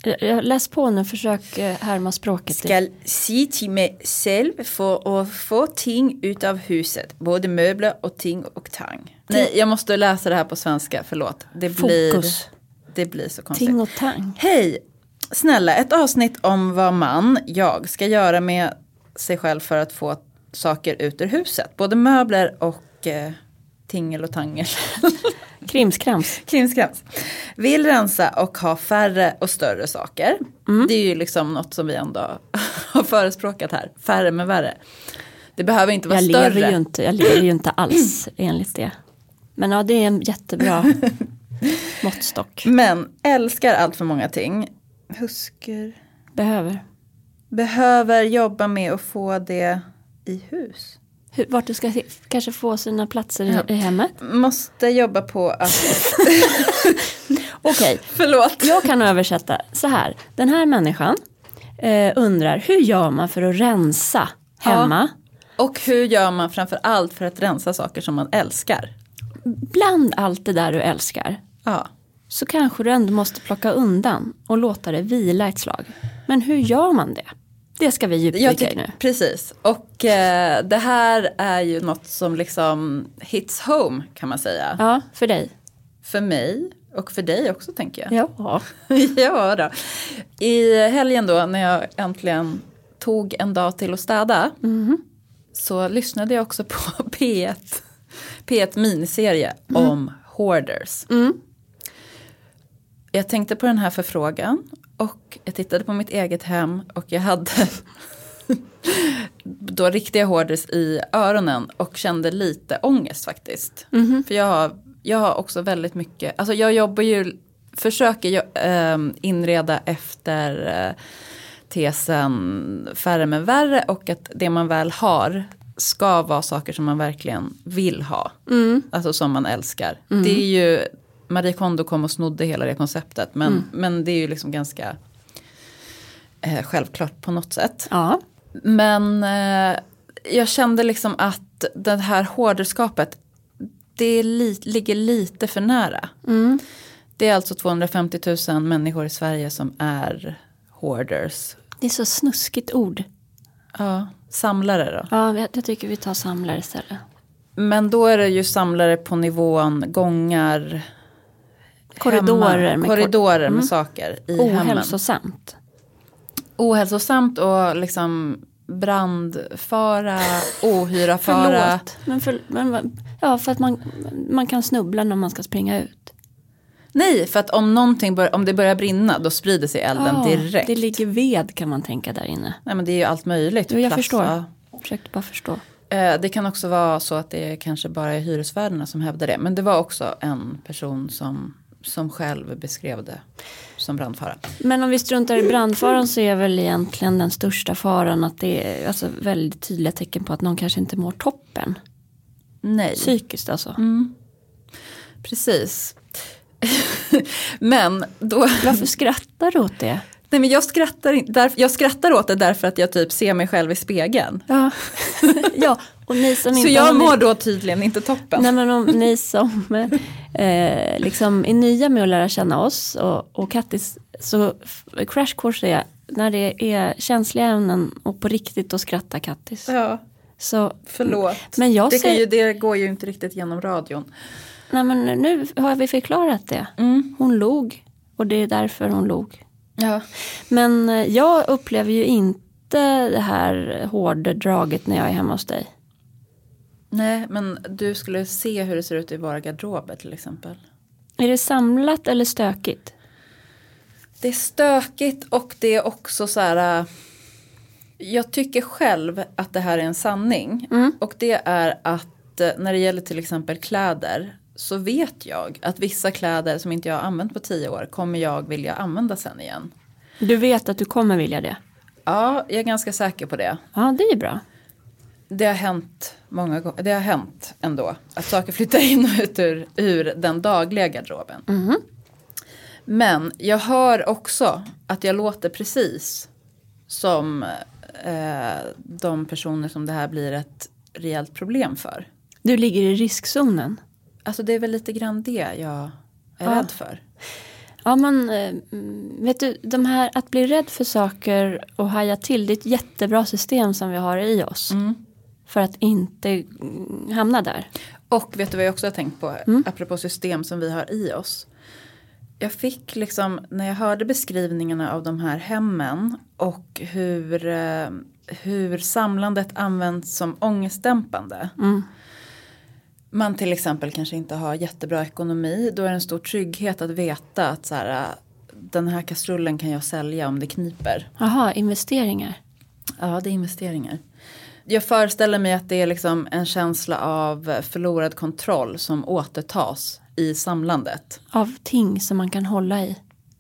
Jag- jag- Läs på nu, försök eh, härma språket.
Ska si till mig själv för att få ting utav huset. Både möbler och ting och tang. Nej, jag måste läsa det här på svenska, förlåt. Det blir,
Fokus.
Det blir så konstigt.
Ting och tang.
Hej! Snälla, ett avsnitt om vad man, jag, ska göra med sig själv för att få saker ut ur huset. Både möbler och eh, tingel och tangel.
Krimskrams.
Krimskrams. Vill rensa och ha färre och större saker.
Mm.
Det är ju liksom något som vi ändå har förespråkat här. Färre men värre. Det behöver inte vara
Jag
större.
lever, ju inte, jag lever ju inte alls enligt det. Men ja, det är en jättebra måttstock.
Men älskar allt för många ting. Husker.
Behöver.
Behöver jobba med att få det i hus.
Hur, vart du ska se- kanske få sina platser i, i hemmet.
Måste jobba på att...
Okej,
Förlåt.
jag kan översätta så här. Den här människan eh, undrar hur gör man för att rensa hemma?
Och hur gör man framför allt för att rensa saker som man älskar?
Bland allt det där du älskar
Ja.
så kanske du ändå måste plocka undan och låta det vila ett slag. Men hur gör man det? Det ska vi
Jag
djupdyka i nu.
tycker, precis. Och eh, det här är ju något som liksom hits home kan man säga.
Ja, för dig.
För mig och för dig också tänker jag.
Ja.
ja då. I helgen då när jag äntligen tog en dag till att städa. Så lyssnade jag också på P1, P1 miniserie om hoarders. Jag tänkte på den här förfrågan och jag tittade på mitt eget hem och jag hade då riktiga hoarders i öronen och kände lite ångest faktiskt. För jag har, jag har också väldigt mycket, alltså jag jobbar ju, försöker ju, ehm, inreda efter eh, tesen färre men värre och att det man väl har ska vara saker som man verkligen vill ha. Alltså som man älskar. Det är ju, Marie Kondo kom och snodde hela det konceptet men, men det är ju liksom ganska eh, självklart på något sätt.
ja.
Men eh, jag kände liksom att det här hoarderskapet, det li, ligger lite för nära.
Mm.
Det är alltså 250 000 människor i Sverige som är hoarders.
Det är så snuskigt ord.
Ja, samlare då.
Ja, jag, jag tycker vi tar samlare istället.
Men då är det ju samlare på nivån gångar,
Korridorer
hemma,
med
korridorer med Mm. saker i hemmen.
Ohälsosamt.
Ohälsosamt och liksom brandfara, ohyrafara.
Förlåt. Men för, men, vad- ja, för att man, man kan snubbla när man ska springa ut.
Nej, för att om, någonting bör, om det börjar brinna då sprider sig elden
Ja,
direkt.
Ah, Det ligger ved kan man tänka där inne.
Nej, men det är ju allt möjligt.
Jo, jag
Plast,
förstår.
ja.
Försökte bara förstå.
Eh, Det kan också vara så att det kanske bara är hyresvärdarna som hävdar det. Men det var också en person som, som själv beskrev det som brandfara.
Men om vi struntar i brandfaran så är väl egentligen den största faran att det är alltså, väldigt tydliga tecken på att någon kanske inte mår toppen.
Nej.
Psykiskt alltså.
Mm. Precis. men då...
Varför skrattar du åt det?
Nej, men jag, skrattar, in- därför, jag skrattar åt det därför att jag typ ser mig själv i spegeln.
Ja, ja och ni som inte
Så jag
om ni-
mår då tydligen inte toppen.
Nej men om ni som eh, liksom är nya med att lära känna oss och, och Kattis så f- crash course är när det är känsliga ämnen och på riktigt då skrattar Kattis.
Ja,
Så,
förlåt.
Men jag
det, kan
säger-
ju, det går ju inte riktigt genom radion.
nej men nu har vi förklarat det. Hon log och det är därför hon log.
Ja.
Men eh, jag upplever ju inte det här hårda draget när jag är hemma hos dig.
Nej, men du skulle se hur det ser ut i våra garderober till exempel.
Är det samlat eller stökigt?
Det är stökigt och det är också så här... äh, Jag tycker själv att det här är en sanning.
Mm.
Och det är att eh, när det gäller till exempel kläder så vet jag att vissa kläder som inte jag har använt på tio år kommer jag vilja använda sen igen.
Du vet att du kommer vilja det?
Ja, jag är ganska säker på det.
Ja det är ju bra.
Det har hänt många gånger. Det har hänt ändå. Att saker flyttar in och ut ur, ur den dagliga garderoben. Men jag hör också att jag låter precis som eh, de personer som det här blir ett rejält problem för.
Du ligger i riskzonen.
Alltså det är väl lite grann det jag är rädd för.
Ja men eh, mm, vet du, de här att bli rädd för saker och haja till, det är ett jättebra system som vi har i oss.
Mm.
För att inte mm, hamna där.
Och vet du vad jag också har tänkt på? Apropå system som vi har i oss. Jag fick liksom, när jag hörde beskrivningarna av de här hemmen och hur, eh, hur samlandet används som ångestdämpande.
Mm.
Man till exempel kanske inte har jättebra ekonomi. Då är det en stor trygghet att veta att så här, eh, den här kastrullen kan jag sälja om det kniper.
Jaha, investeringar.
Ja, det är investeringar. Jag föreställer mig att det är liksom en känsla av förlorad kontroll som återtas i samlandet.
Av ting som man kan hålla i.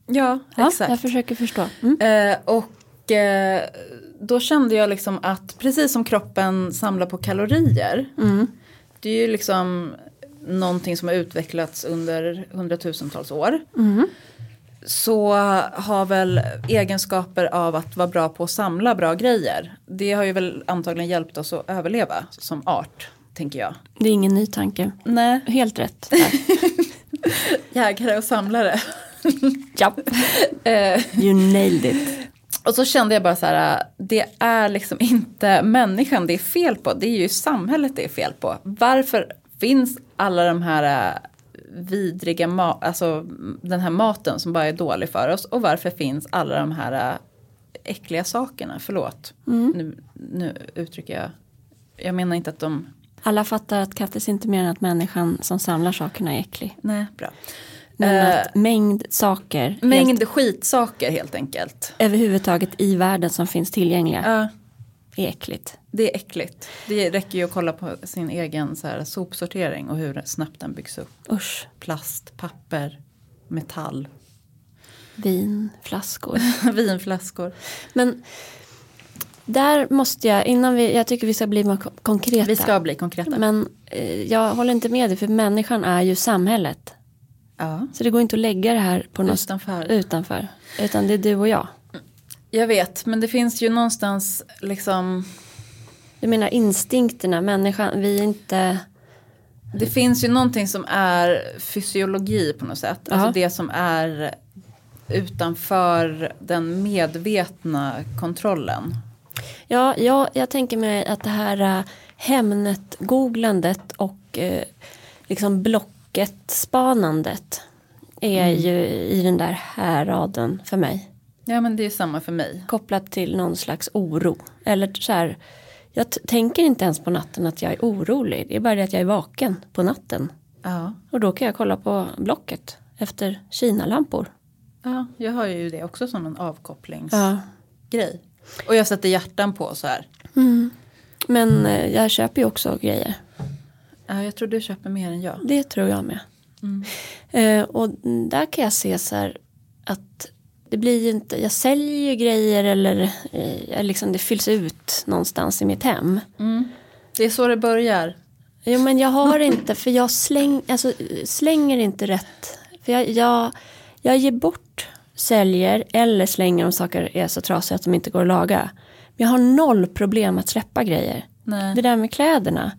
Ja,
Ja,
exakt.
Jag försöker förstå. Mm.
Eh, och eh, då kände jag liksom att precis som kroppen samlar på kalorier. Det är ju liksom någonting som har utvecklats under hundratusentals år. Så har väl egenskaper av att vara bra på att samla bra grejer. Det har ju väl antagligen hjälpt oss att överleva som art, tänker jag.
Det är ingen ny tanke.
Nej,
Helt rätt. Där.
jägare och samlare.
Japp.
Eh,
You nailed it.
Och så kände jag bara så här, det är liksom inte människan det är fel på, det är ju samhället det är fel på. Varför finns alla de här äh, vidriga, ma- alltså den här maten som bara är dålig för oss och varför finns alla de här äh, äckliga sakerna, förlåt. Nu, nu uttrycker jag, jag menar inte att de
Alla fattar att Kattis inte menar att människan som samlar sakerna är äcklig.
nej bra.
Men
Eh,
att mängd saker
mängd
helt,
skitsaker helt enkelt.
överhuvudtaget i världen som finns tillgängliga
Ja.
är äckligt.
Det är äckligt. Det räcker ju att kolla på sin egen så här, sopsortering och hur snabbt den byggs upp.
Usch.
Plast, papper, metall,
Vin, flaskor.
vinflaskor.
Men där måste jag, innan vi, jag tycker vi ska bli mer ko- konkreta.
Vi ska bli konkreta.
Men eh, jag håller inte med dig för människan är ju samhället.
ja.
Så det går inte att lägga det här på något
Utanför.
utanför. Utan det är du och jag.
Jag vet, men det finns ju någonstans liksom...
Du menar instinkterna, människan, vi är inte
Det finns ju någonting som är fysiologi på något sätt.
Ja.
Alltså det som är utanför den medvetna kontrollen.
Ja, ja, jag tänker mig att det här äh, Hemnet-googlandet och eh, liksom Blocket-spanandet är ju i den där häraden för mig.
Ja men det är samma för mig.
Kopplat till någon slags oro. Eller så här, jag t- tänker inte ens på natten att jag är orolig. Det är bara det att jag är vaken på natten.
Ja.
Och då kan jag kolla på Blocket efter Kina-lampor.
ja, jag har ju det också som en avkopplingsgrej.
Ja.
Och jag sätter hjärtan på så här.
Men eh, jag köper ju också grejer.
Ja, jag tror du köper mer än jag.
Det tror jag med. Eh, och där kan jag se så här att det blir ju inte, jag säljer ju grejer eller eh, jag liksom det fylls ut någonstans i mitt hem.
Det är så det börjar.
Jo men jag har inte, för jag släng, alltså, eh, slänger inte rätt. För jag, jag, jag ger bort, säljer eller slänger om saker är så trasiga att de inte går att laga. Men jag har noll problem att släppa grejer.
Nej.
Det där med kläderna.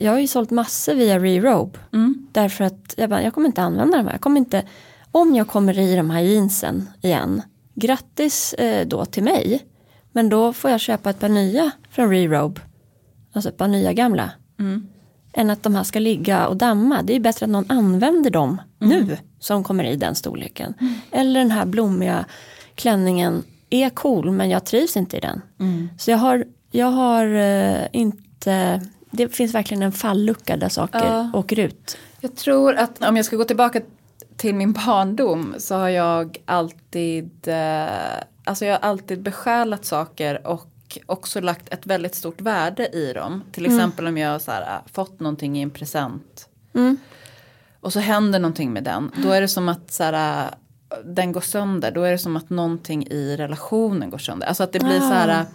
Jag har ju sålt massor via Rerobe.
Mm,
Därför att jag, bara, jag kommer inte använda de här. Jag kommer inte, om jag kommer i de här jeansen igen. Grattis eh, då till mig. Men då får jag köpa ett par nya från Rerobe. Alltså ett par nya gamla.
mm,
Än att de här ska ligga och damma. Det är ju bättre att någon använder dem nu. Som kommer i den storleken. Eller den här blommiga klänningen är cool men jag trivs inte i den.
mm.
Så jag har, jag har eh, inte, det finns verkligen en fallucka där saker
Ja.
åker ut.
Jag tror att om jag ska gå tillbaka till min barndom så har jag alltid, eh, alltså jag har alltid besjälat saker och också lagt ett väldigt stort värde i dem. Till exempel om jag har så här, eh, fått någonting i en present.
Mm.
Och så händer någonting med den. Då är det som att så här, eh, den går sönder. Då är det som att någonting i relationen går sönder. Alltså att det blir så här. eh,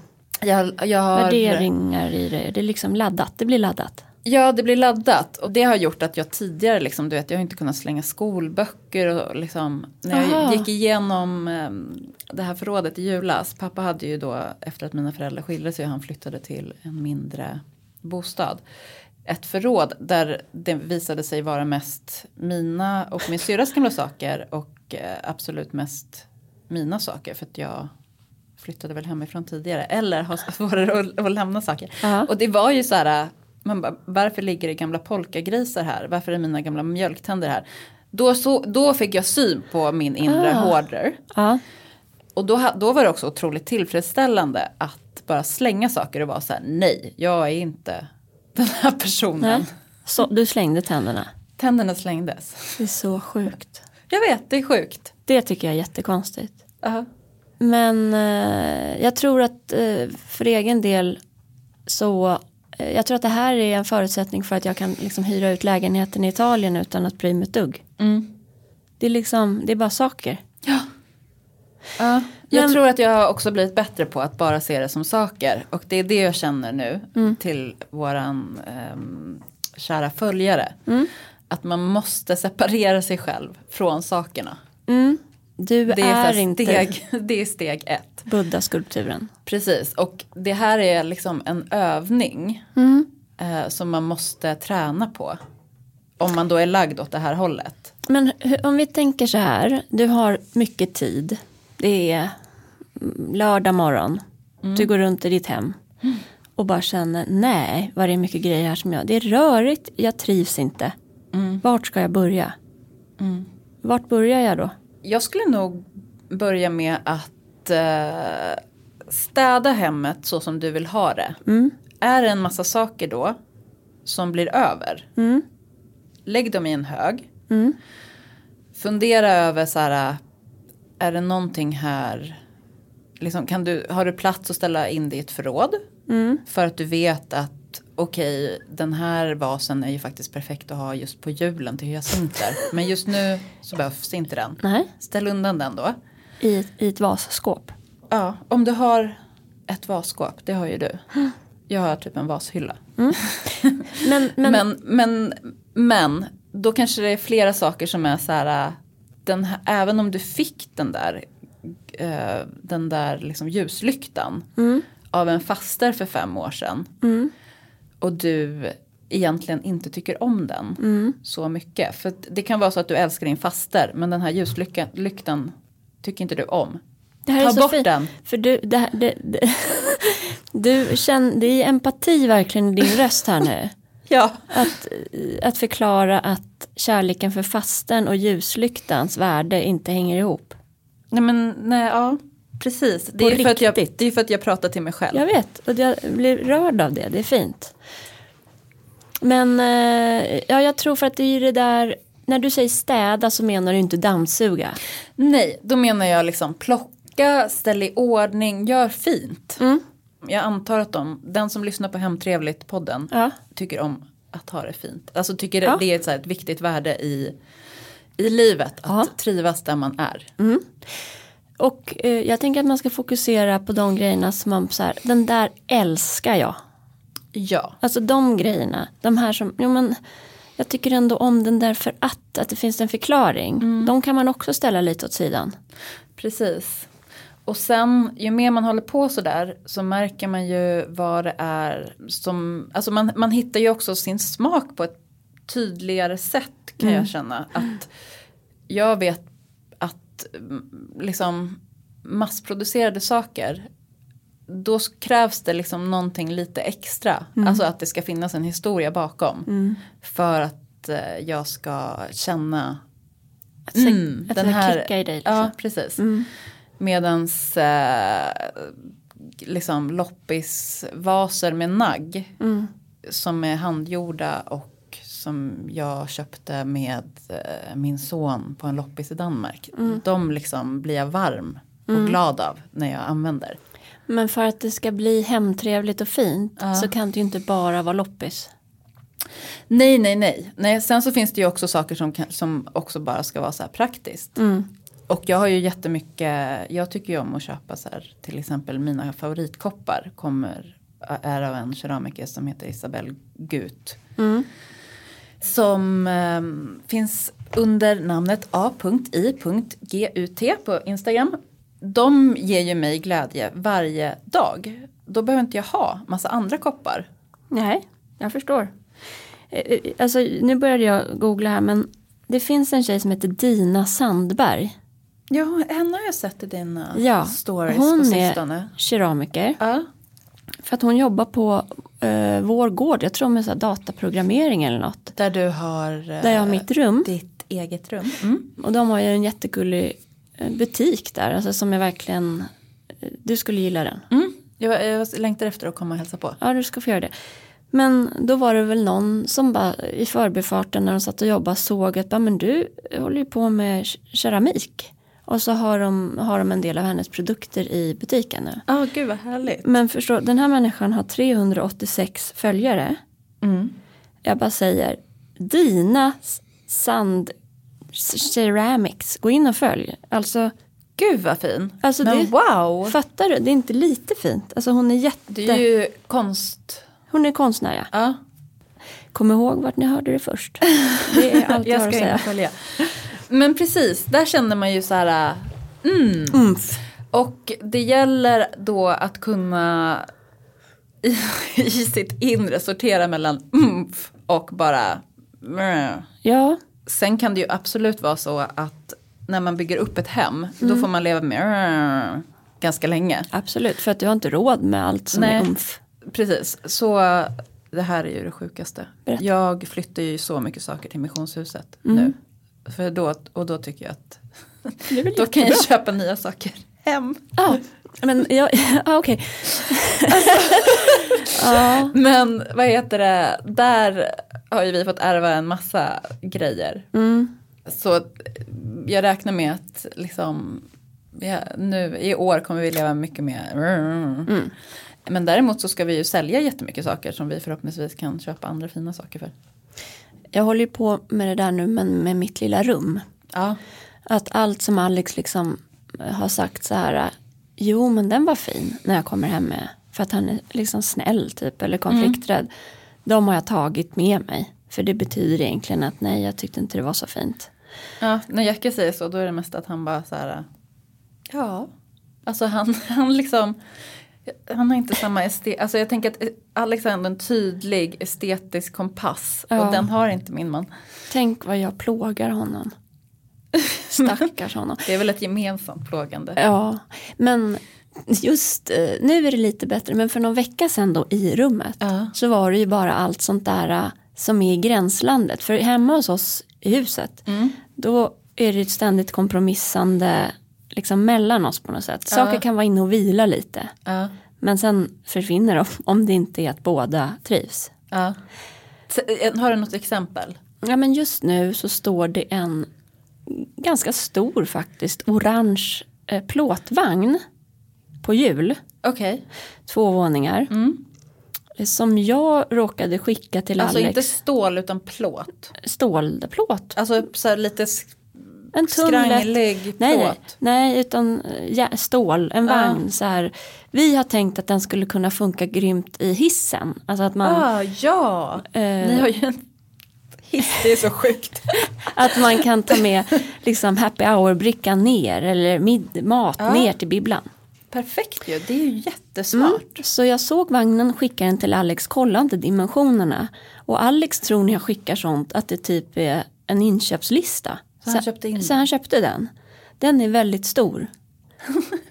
Jag, jag har,
Värderingar i det, det är liksom laddat, det blir laddat.
Ja, det blir laddat och det har gjort att jag tidigare liksom, du vet, jag har inte kunnat slänga skolböcker och liksom, när jag
Aha.
gick igenom eh, det här förrådet i julas, pappa hade ju då efter att mina föräldrar skilde sig och han flyttade till en mindre bostad, ett förråd där det visade sig vara mest mina och min syrras gamla saker och eh, absolut mest mina saker för att jag flyttade väl hemifrån tidigare eller har svårare att, att lämna saker.
Ja.
Och det var ju så här, man bara, varför ligger det gamla polkagrisar här? Varför är mina gamla mjölktänder här? Då, så, då fick jag syn på min inre
Ah.
hoarder.
Ja.
Och då, ha- då var det också otroligt tillfredsställande att bara slänga saker och vara så här, nej, jag är inte den här personen.
Nej. Så, du slängde tänderna.
Tänderna slängdes.
Det är så sjukt.
Jag vet, det är sjukt.
Det tycker jag är jättekonstigt.
Ja.
Men eh, jag tror att eh, för egen del så eh, jag tror att det här är en förutsättning för att jag kan liksom hyra ut lägenheten i Italien utan att bry mig ett dugg.
Mm.
Det är liksom, det är bara saker.
Ja, jag
Men-
tror att jag har också blivit bättre på att bara se det som saker. Och det är det jag känner nu
Mm.
till våran ehm, kära följare.
Mm.
Att man måste separera sig själv från sakerna.
Mm. Du
Det är,
är,
så här
inte
steg, det är steg ett.
Buddha-skulpturen.
Precis, och det här är liksom en övning
Mm.
eh, som man måste träna på. Om man då är lagd åt det här hållet.
Men hur- om vi tänker så här, du har mycket tid. Det är mm, lördag morgon. Du går runt i ditt hem och bara känner nej, vad det är mycket grejer här som jag. Det är rörigt, jag trivs inte. Vart ska jag börja? Vart börjar jag då?
Jag skulle nog börja med att eh, städa hemmet så som du vill ha det. Är det en massa saker då som blir över, lägg dem i en hög. Fundera över så här, är det någonting här, liksom, kan du, har du plats att ställa in det i ett förråd? För att du vet att okej, den här vasen är ju faktiskt perfekt att ha just på julen till hyacinter. Men just nu så behövs inte den.
Nej,
Ställ undan den då.
i, ett- i ett vasskåp.
Ja, om du har ett vasskåp, det har ju du. Jag har typ en vashylla.
Men, men,
Men, men, men då kanske det är flera saker som är så här, äh, den här även om du fick den där, eh, den där liksom ljuslyktan av en faster för fem år sedan. Och du egentligen inte tycker om den så mycket. För att det kan vara så att du älskar din faster men den här ljuslyktan tycker inte du om.
Det här
Ta
är så
bort
fint,
den.
För du, det, här- det, det, du känner, det är empati verkligen i din röst här nu.
Ja.
Att, eh, att förklara att kärleken för fasten och ljuslyktans värde inte hänger ihop.
Nej men nej, ja. Precis. Det
På
är, ju för att jag,
riktigt.
det är för att jag pratar till mig själv.
Jag vet, och jag blir rörd av det, det är fint. Men eh, ja, jag tror för att det är ju det där, när du säger städa så menar du inte dammsuga.
Nej, då menar jag liksom plocka, ställ i ordning, gör fint.
Mm.
Jag antar att de, den som lyssnar på Hemtrevligt-podden
Ja.
tycker om att ha det fint. Alltså tycker
Ja.
det är ett, så här, ett viktigt värde i, i livet, att
Ja. Mm.
trivas där man är.
Och eh, jag tänker att man ska fokusera på de grejerna som man så här, den där älskar jag.
Ja.
Alltså de grejerna, de här som, jo men jag tycker ändå om den där för att, att det finns en förklaring. De kan man också ställa lite åt sidan.
Precis. Och sen ju mer man håller på så där så märker man ju vad det är som, alltså man, man hittar ju också sin smak på ett tydligare sätt kan jag känna. Att jag vet att mm, liksom massproducerade saker då s- krävs det liksom någonting lite extra. Alltså att det ska finnas en historia bakom. För att eh, jag ska känna
Att, se-
Mm,
att
den
den
här-
klicka i dig. Liksom.
Ja, precis. Medans eh, liksom loppisvaser med nagg som är handgjorda och som jag köpte med eh, min son på en loppis i Danmark. De liksom blir jag varm och glad av när jag använder.
Men för att det ska bli hemtrevligt och fint så kan det ju inte bara vara loppis.
Nej, nej, nej. nej sen så finns det ju också saker som, kan, som också bara ska vara så här praktiskt. Och jag har ju jättemycket, jag tycker ju om att köpa så här, till exempel mina favoritkoppar kommer, är av en keramiker som heter Isabelle Gut. Som ehm, finns under namnet a.i.gut på Instagram. De ger ju mig glädje varje dag. Då behöver inte jag ha massa andra koppar.
Nej, jag förstår. Eh, eh, Alltså, nu började jag googla här men det finns en tjej som heter Dina Sandberg.
Ja, henne har jag sett i dina
Ja,
stories på
hon är
sistone.
keramiker.
Ja.
För att hon jobbar på eh, vår gård, jag tror med så här dataprogrammering eller något.
Där du har eh,
Där jag har mitt rum.
ditt eget rum. Mm.
Och de har ju en jättegullig eh, butik där, alltså som är verkligen, eh, du skulle gilla den.
Mm. Jag, jag längtar efter att komma och hälsa på.
Ja, du ska få göra det. Men då var det väl någon som bara i förbifarten när de satt och jobbade såg att bara, men du eh, håller ju på med ke- keramik. Och så har de, har de en del av hennes produkter i butiken nu.
Ja, gud vad härligt.
Men förstå, den här människan har 386 följare.
Mm.
Jag bara säger, dina s- sand s- ceramics, gå in och följ. Alltså,
Gud vad fin.
Alltså,
Men
det-
wow.
fattar du? Det är inte lite fint. Alltså hon är jätte...
Det är ju konst.
Hon är konstnär ja.
Ja.
Kom ihåg vart ni hörde det först. Det är allt jag,
jag
har att
ska in
säga.
och följa. Men precis, där känner man ju så här. äh, Mm.
Umf.
Och det gäller då att kunna i, i sitt inre sortera mellan umf och bara meh.
Ja,
Sen kan det ju absolut vara så att när man bygger upp ett hem då får man leva med ganska länge.
absolut. För att du har inte råd med allt som
Nej.
är umf.
Precis, så det här är ju det sjukaste.
Berätta.
Jag flyttar ju så mycket saker till missionshuset nu. För då, och då tycker jag att
Det är väl
då kan jag köpa nya saker hem.
Ja, men jag, ja, okej. ja,
Men vad heter det, där har ju vi fått ärva en massa grejer.
mm,
Så att jag räknar med att liksom, ja, nu i år kommer vi leva mycket mer.
mm.
Men däremot så ska vi ju sälja jättemycket saker som vi förhoppningsvis kan köpa andra fina saker för.
jag håller ju på med det där nu men med mitt lilla rum.
Ja,
Att allt som Alex liksom har sagt så här. Jo men den var fin när jag kommer hem med. För att han är liksom snäll typ eller konflikträdd. De har jag tagit med mig. För det betyder egentligen att nej jag tyckte inte det var så fint.
ja när Jacke säger så då är det mest att han bara så här. Ja, alltså han, han liksom. Han har inte samma estet. Alltså jag tänker att Alex har ändå en tydlig estetisk kompass.
Ja.
Och den har inte min man.
Tänk vad jag plågar honom. Stackars honom.
Det är väl ett gemensamt plågande.
Ja, men just eh, nu är det lite bättre. Men för någon vecka sedan då i rummet
Ja.
så var det ju bara allt sånt där eh, som är i gränslandet. För hemma hos oss i huset då är det ett ständigt kompromissande liksom mellan oss på något sätt. Saker kan vara inne och vila lite.
Ja.
Men sen försvinner de om det inte är att båda trivs.
Ja. S- Har du något exempel?
Ja men just nu så står det en ganska stor faktiskt orange eh, plåtvagn på hjul.
Okej.
Två våningar.
Mm.
Eh, Som jag råkade skicka till
Alltså
Alex.
inte stål utan plåt.
Stålplåt.
Alltså så här lite sk-
En tunn lätt
skranglig
Nej, nej,
plåt.
nej, utan eh, jä- stål, en
Ja.
vagn. Så här. Vi har tänkt att den skulle kunna funka grymt i hissen. Alltså att man,
Ah, ja,
Eh.
ni har ju en hiss, det är så sjukt.
att man kan ta med liksom, happy hour-brickan ner eller mid- mat
Ja.
ner till bibblan.
Perfekt ju, det är ju jättesmart.
Mm. Så jag såg vagnen, skickade den till Alex, kolla inte dimensionerna. Och Alex tror när jag skickar sånt att det typ är en inköpslista.
Så han köpte in
så han köpte den. Den är väldigt stor.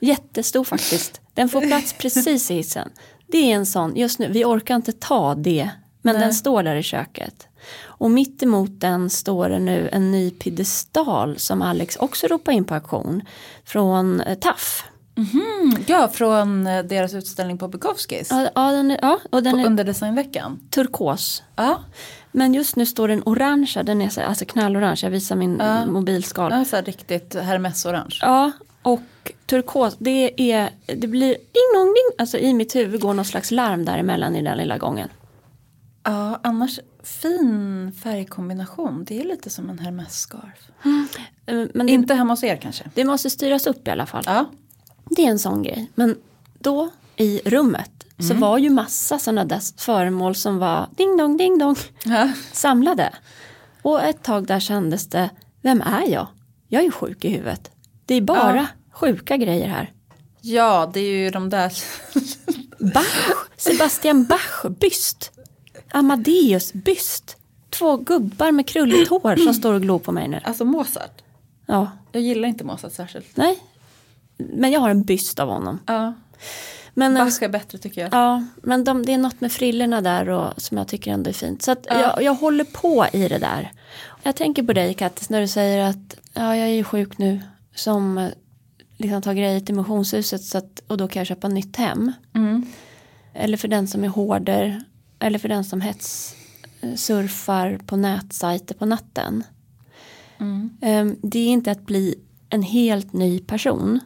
Jättestor faktiskt. Den får plats precis i hissen. Det är en sån, just nu, vi orkar inte ta det. Men den står där i köket. Och mitt emot den står det nu en ny piedestal som Alex också ropade in på auktion. Från eh, Taff.
Mm, ja, från eh, deras utställning på Bukowskis
Ja, ja, den är, ja, och den
på
är
under designveckan.
turkos.
Ja,
Men just nu står den orangea, den är så, alltså knallorange, jag visar min
Ja.
mobilskal.
ja så här riktigt Hermes-orange.
Ja, och turkos, det är, det blir ding dong ding, alltså i mitt huvud går någon slags larm däremellan i den lilla gången.
Ja, annars fin färgkombination, det är lite som en Hermes-scarf.
Eh, Men det,
Inte hemma hos er kanske?
det måste styras upp i alla fall.
Ja,
Det är en sån grej. Men då i rummet
Mm.
så var ju massa sådana där föremål som var ding dong ding dong
ja.
samlade. Och ett tag där kändes det, vem är jag? Jag är sjuk i huvudet. Det är bara sjuka grejer här.
ja det är ju de där
Bach, Sebastian Bach byst. Amadeus byst. Två gubbar med krulligt hår som står och glor på mig nu.
Alltså Mozart.
Ja,
Jag gillar inte Mozart särskilt.
nej. Men jag har en byst av honom.
Ja.
Men, eh,
Bach är bättre tycker jag.
ja, men de, det är något med frillorna där och, som jag tycker ändå är fint. Så att jag, jag håller på i det där. Jag tänker på dig Kattis när du säger att ja, jag är ju sjuk nu som eh, liksom, tar grejer till missionshuset så att, och då kan jag köpa nytt hem.
Mm.
Eller för den som är hårder. Eller för den som hets eh, surfar på nätsajter på natten.
Mm.
Ehm, Det är inte att bli en helt ny person.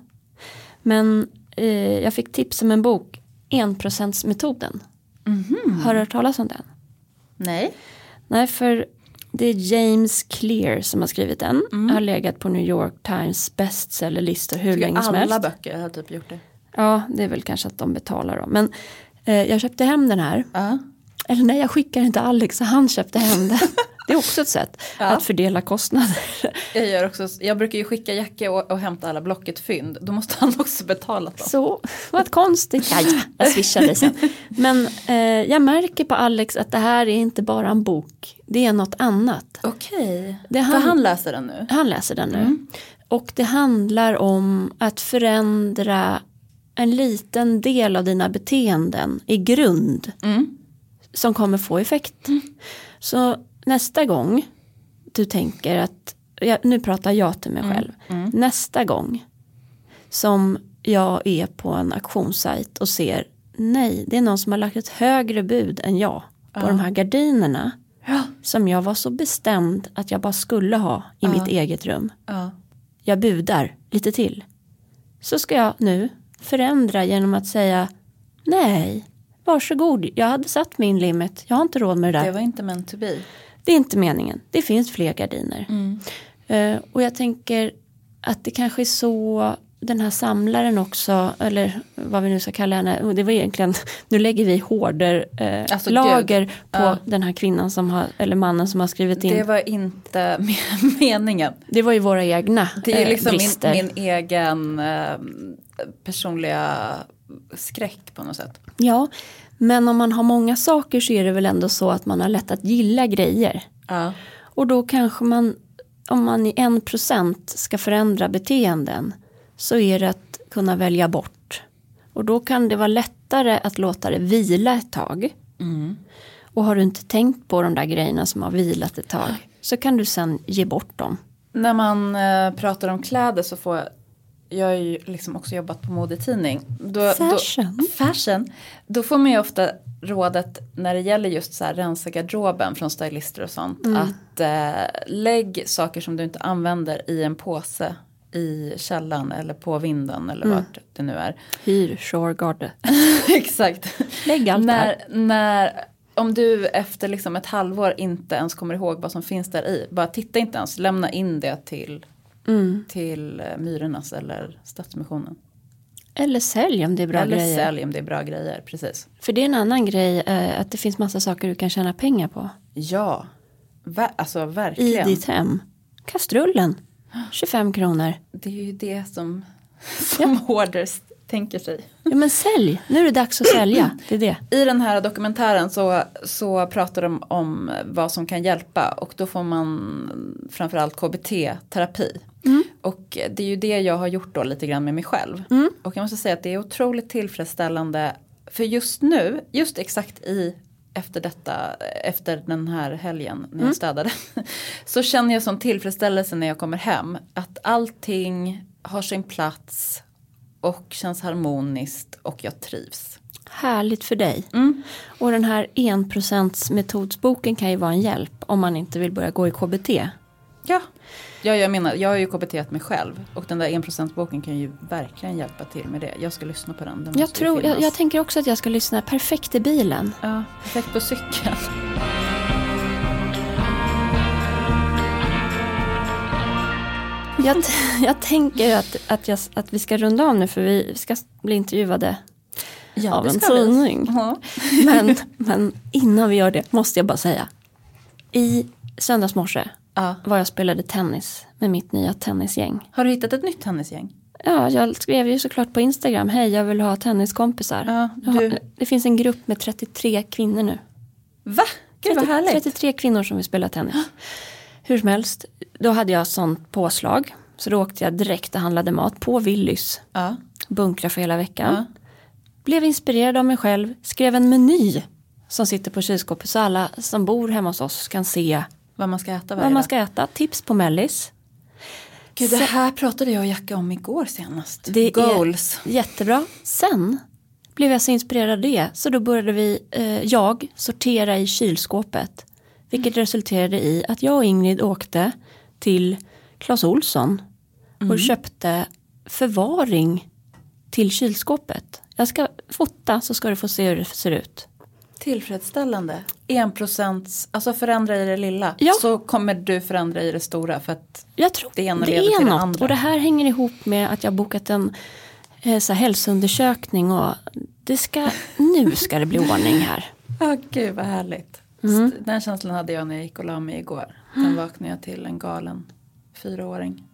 Men eh, jag fick tips om en bok. Enprocentsmetoden.
Mhm.
Har du hört talas om den?
Nej.
Nej, för det är James Clear som har skrivit den.
Mm.
Har legat på New York Times bestsellerlistor hur länge som
Alla
helst.
böcker har typ gjort det.
Ja, det är väl kanske att de betalar dem. Men eh, jag köpte hem den här.
Ja.
Eller nej, jag skickar inte Alex så han köpte hem den. Det är också ett sätt att fördela kostnader.
Jag, gör också, jag brukar ju skicka Jacke och, och hämta alla Blocket-fynd. Då måste han också betala dem.
Så vad konstigt. Ja, ja, jag swishar dig sen. Men eh, jag märker på Alex att det här är inte bara en bok. Det är något annat.
Okej.
Det
För
han,
han läser den nu?
han läser den nu. Och det handlar om att förändra en liten del av dina beteenden i grund.
Mm.
som kommer få effekt. Så nästa gång du tänker att, ja, nu pratar jag till mig själv, nästa gång som jag är på en auktionssajt och ser nej, det är någon som har lagt ett högre bud än jag på de här gardinerna
Ja.
som jag var så bestämd att jag bara skulle ha i mitt eget rum.
ja.
Jag budar lite till. Så ska jag nu förändra genom att säga nej, varsågod, jag hade satt min limit, jag har inte råd med det där.
Det var inte meant to be.
Det är inte meningen. Det finns fler gardiner.
Mm.
Eh, och jag tänker att det kanske är så den här samlaren också, eller vad vi nu ska kalla henne, och det var egentligen, nu lägger vi hårder eh,
Alltså,
lager på
Ja.
den här kvinnan som har, eller mannen som har skrivit in.
Det
Det var,
var inte me- meningen.
ju våra egna
Det är
eh,
liksom
brister.
min, min egen eh, personliga skräck på något sätt.
Ja, men om man har många saker så är det väl ändå så att man har lätt att gilla grejer.
Ja.
Och då kanske man, om man i en procent ska förändra beteenden så är det att kunna välja bort. Och då kan det vara lättare att låta det vila ett tag.
Mm.
Och har du inte tänkt på de där grejerna som har vilat ett tag så kan du sen ge bort dem.
När man eh, pratar om kläder så får jag, jag har ju liksom också jobbat på modetidning. Då,
Fashion.
Då, fashion. Då får man ju ofta rådet när det gäller just så här rensa garderoben från stylister och sånt.
Mm.
Att eh, lägg saker som du inte använder i en påse i källan eller på vinden eller
Mm.
vart det nu är.
Hyr Shoregarde.
Exakt.
Lägg allt där.
när, när, om du efter liksom ett halvår inte ens kommer ihåg vad som finns där i, bara titta inte ens, lämna in det till,
Mm.
till eh, Myrornas eller Stadsmissionen.
Eller sälj om det är bra
eller
grejer.
sälj om det är bra grejer, precis.
För det är en annan grej eh, att det finns massa saker du kan tjäna pengar på.
Ja, Ver, alltså
I
verkligen.
ditt hem. Kastrullen. 25 kronor.
Det är ju det som, som hoarders tänker sig.
Ja men sälj. Nu är det dags att
Mm.
sälja. Det är det.
I den här dokumentären så, så pratar de om vad som kan hjälpa och då får man framförallt KBT-terapi. Och det är ju det jag har gjort då lite grann med mig själv. Och jag måste säga att det är otroligt tillfredsställande för just nu, just exakt i efter detta, efter den här helgen när jag städade. Så känner jag sån tillfredsställelse när jag kommer hem. Att allting har sin plats och känns harmoniskt och jag trivs.
Härligt för dig.
Mm.
Och den här 1% metodsboken kan ju vara en hjälp om man inte vill börja gå i KBT.
Ja. ja, jag menar, jag har ju kbt mig själv och den där 1%-boken kan ju verkligen hjälpa till med det. Jag ska lyssna på den. den måste ju
Jag, tror, jag,
finnas.
jag tänker också att jag ska lyssna perfekt i bilen.
Ja, perfekt på cykeln.
Jag, t- jag tänker att, att, jag, att vi ska runda av nu för vi ska bli intervjuade av en tidning.
Ja.
Men, men innan vi gör det måste jag bara säga. I söndags morse
Ja.
var jag spelade tennis med mitt nya tennisgäng.
Har du hittat ett nytt tennisgäng?
Ja, jag skrev ju såklart på Instagram, hej jag vill ha tenniskompisar.
Ja,
Jag har-
du-
Det finns en grupp med 33 kvinnor nu.
Va? Gud vad
30
härligt.
33 kvinnor som vill spela tennis. Hur som helst, då hade jag sånt påslag. Så då åkte jag direkt och handlade mat på Willys.
Ja.
Bunkra för hela veckan. Blev inspirerad av mig själv, skrev en meny som sitter på kylskåpet så alla som bor hemma hos oss kan se
Vad man ska äta varje
vad man
dag.
ska äta. Tips på mellis.
Gud, det här pratade jag och Jacka om igår senast.
Det
Goals.
är jättebra. Sen blev jag så inspirerad av det så då började vi, eh, jag, sortera i kylskåpet. Vilket
Mm.
resulterade i att jag och Ingrid åkte till Clas Olsson
Mm.
och köpte förvaring till kylskåpet. Jag ska fota så ska du få se hur det ser ut.
Tillfredsställande. 1%, alltså förändra i det lilla.
Ja.
Så kommer du förändra i det stora för att
Jag tror
Det
det,
ena leder
är
till det
något
andra.
och det här hänger ihop med att jag bokat en eh, så här, hälsoundersökning och det ska, nu ska det bli ordning här.
Ja, gud vad härligt. S- Den känslan hade jag när jag gick och la mig igår. Sen vaknade jag till en galen fyraåring.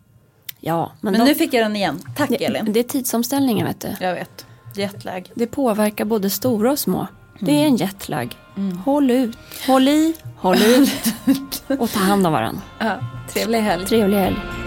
Ja, men,
Men
de-
nu fick jag den igen. Tack
det,
Elin.
det är tidsomställningen vet du.
Jag vet. Jetlag.
Det påverkar både stora och små. Det är en jetlag. Håll ut, håll i, håll ut och ta hand om varandra.
Ja, trevlig helg.
Trevlig helg.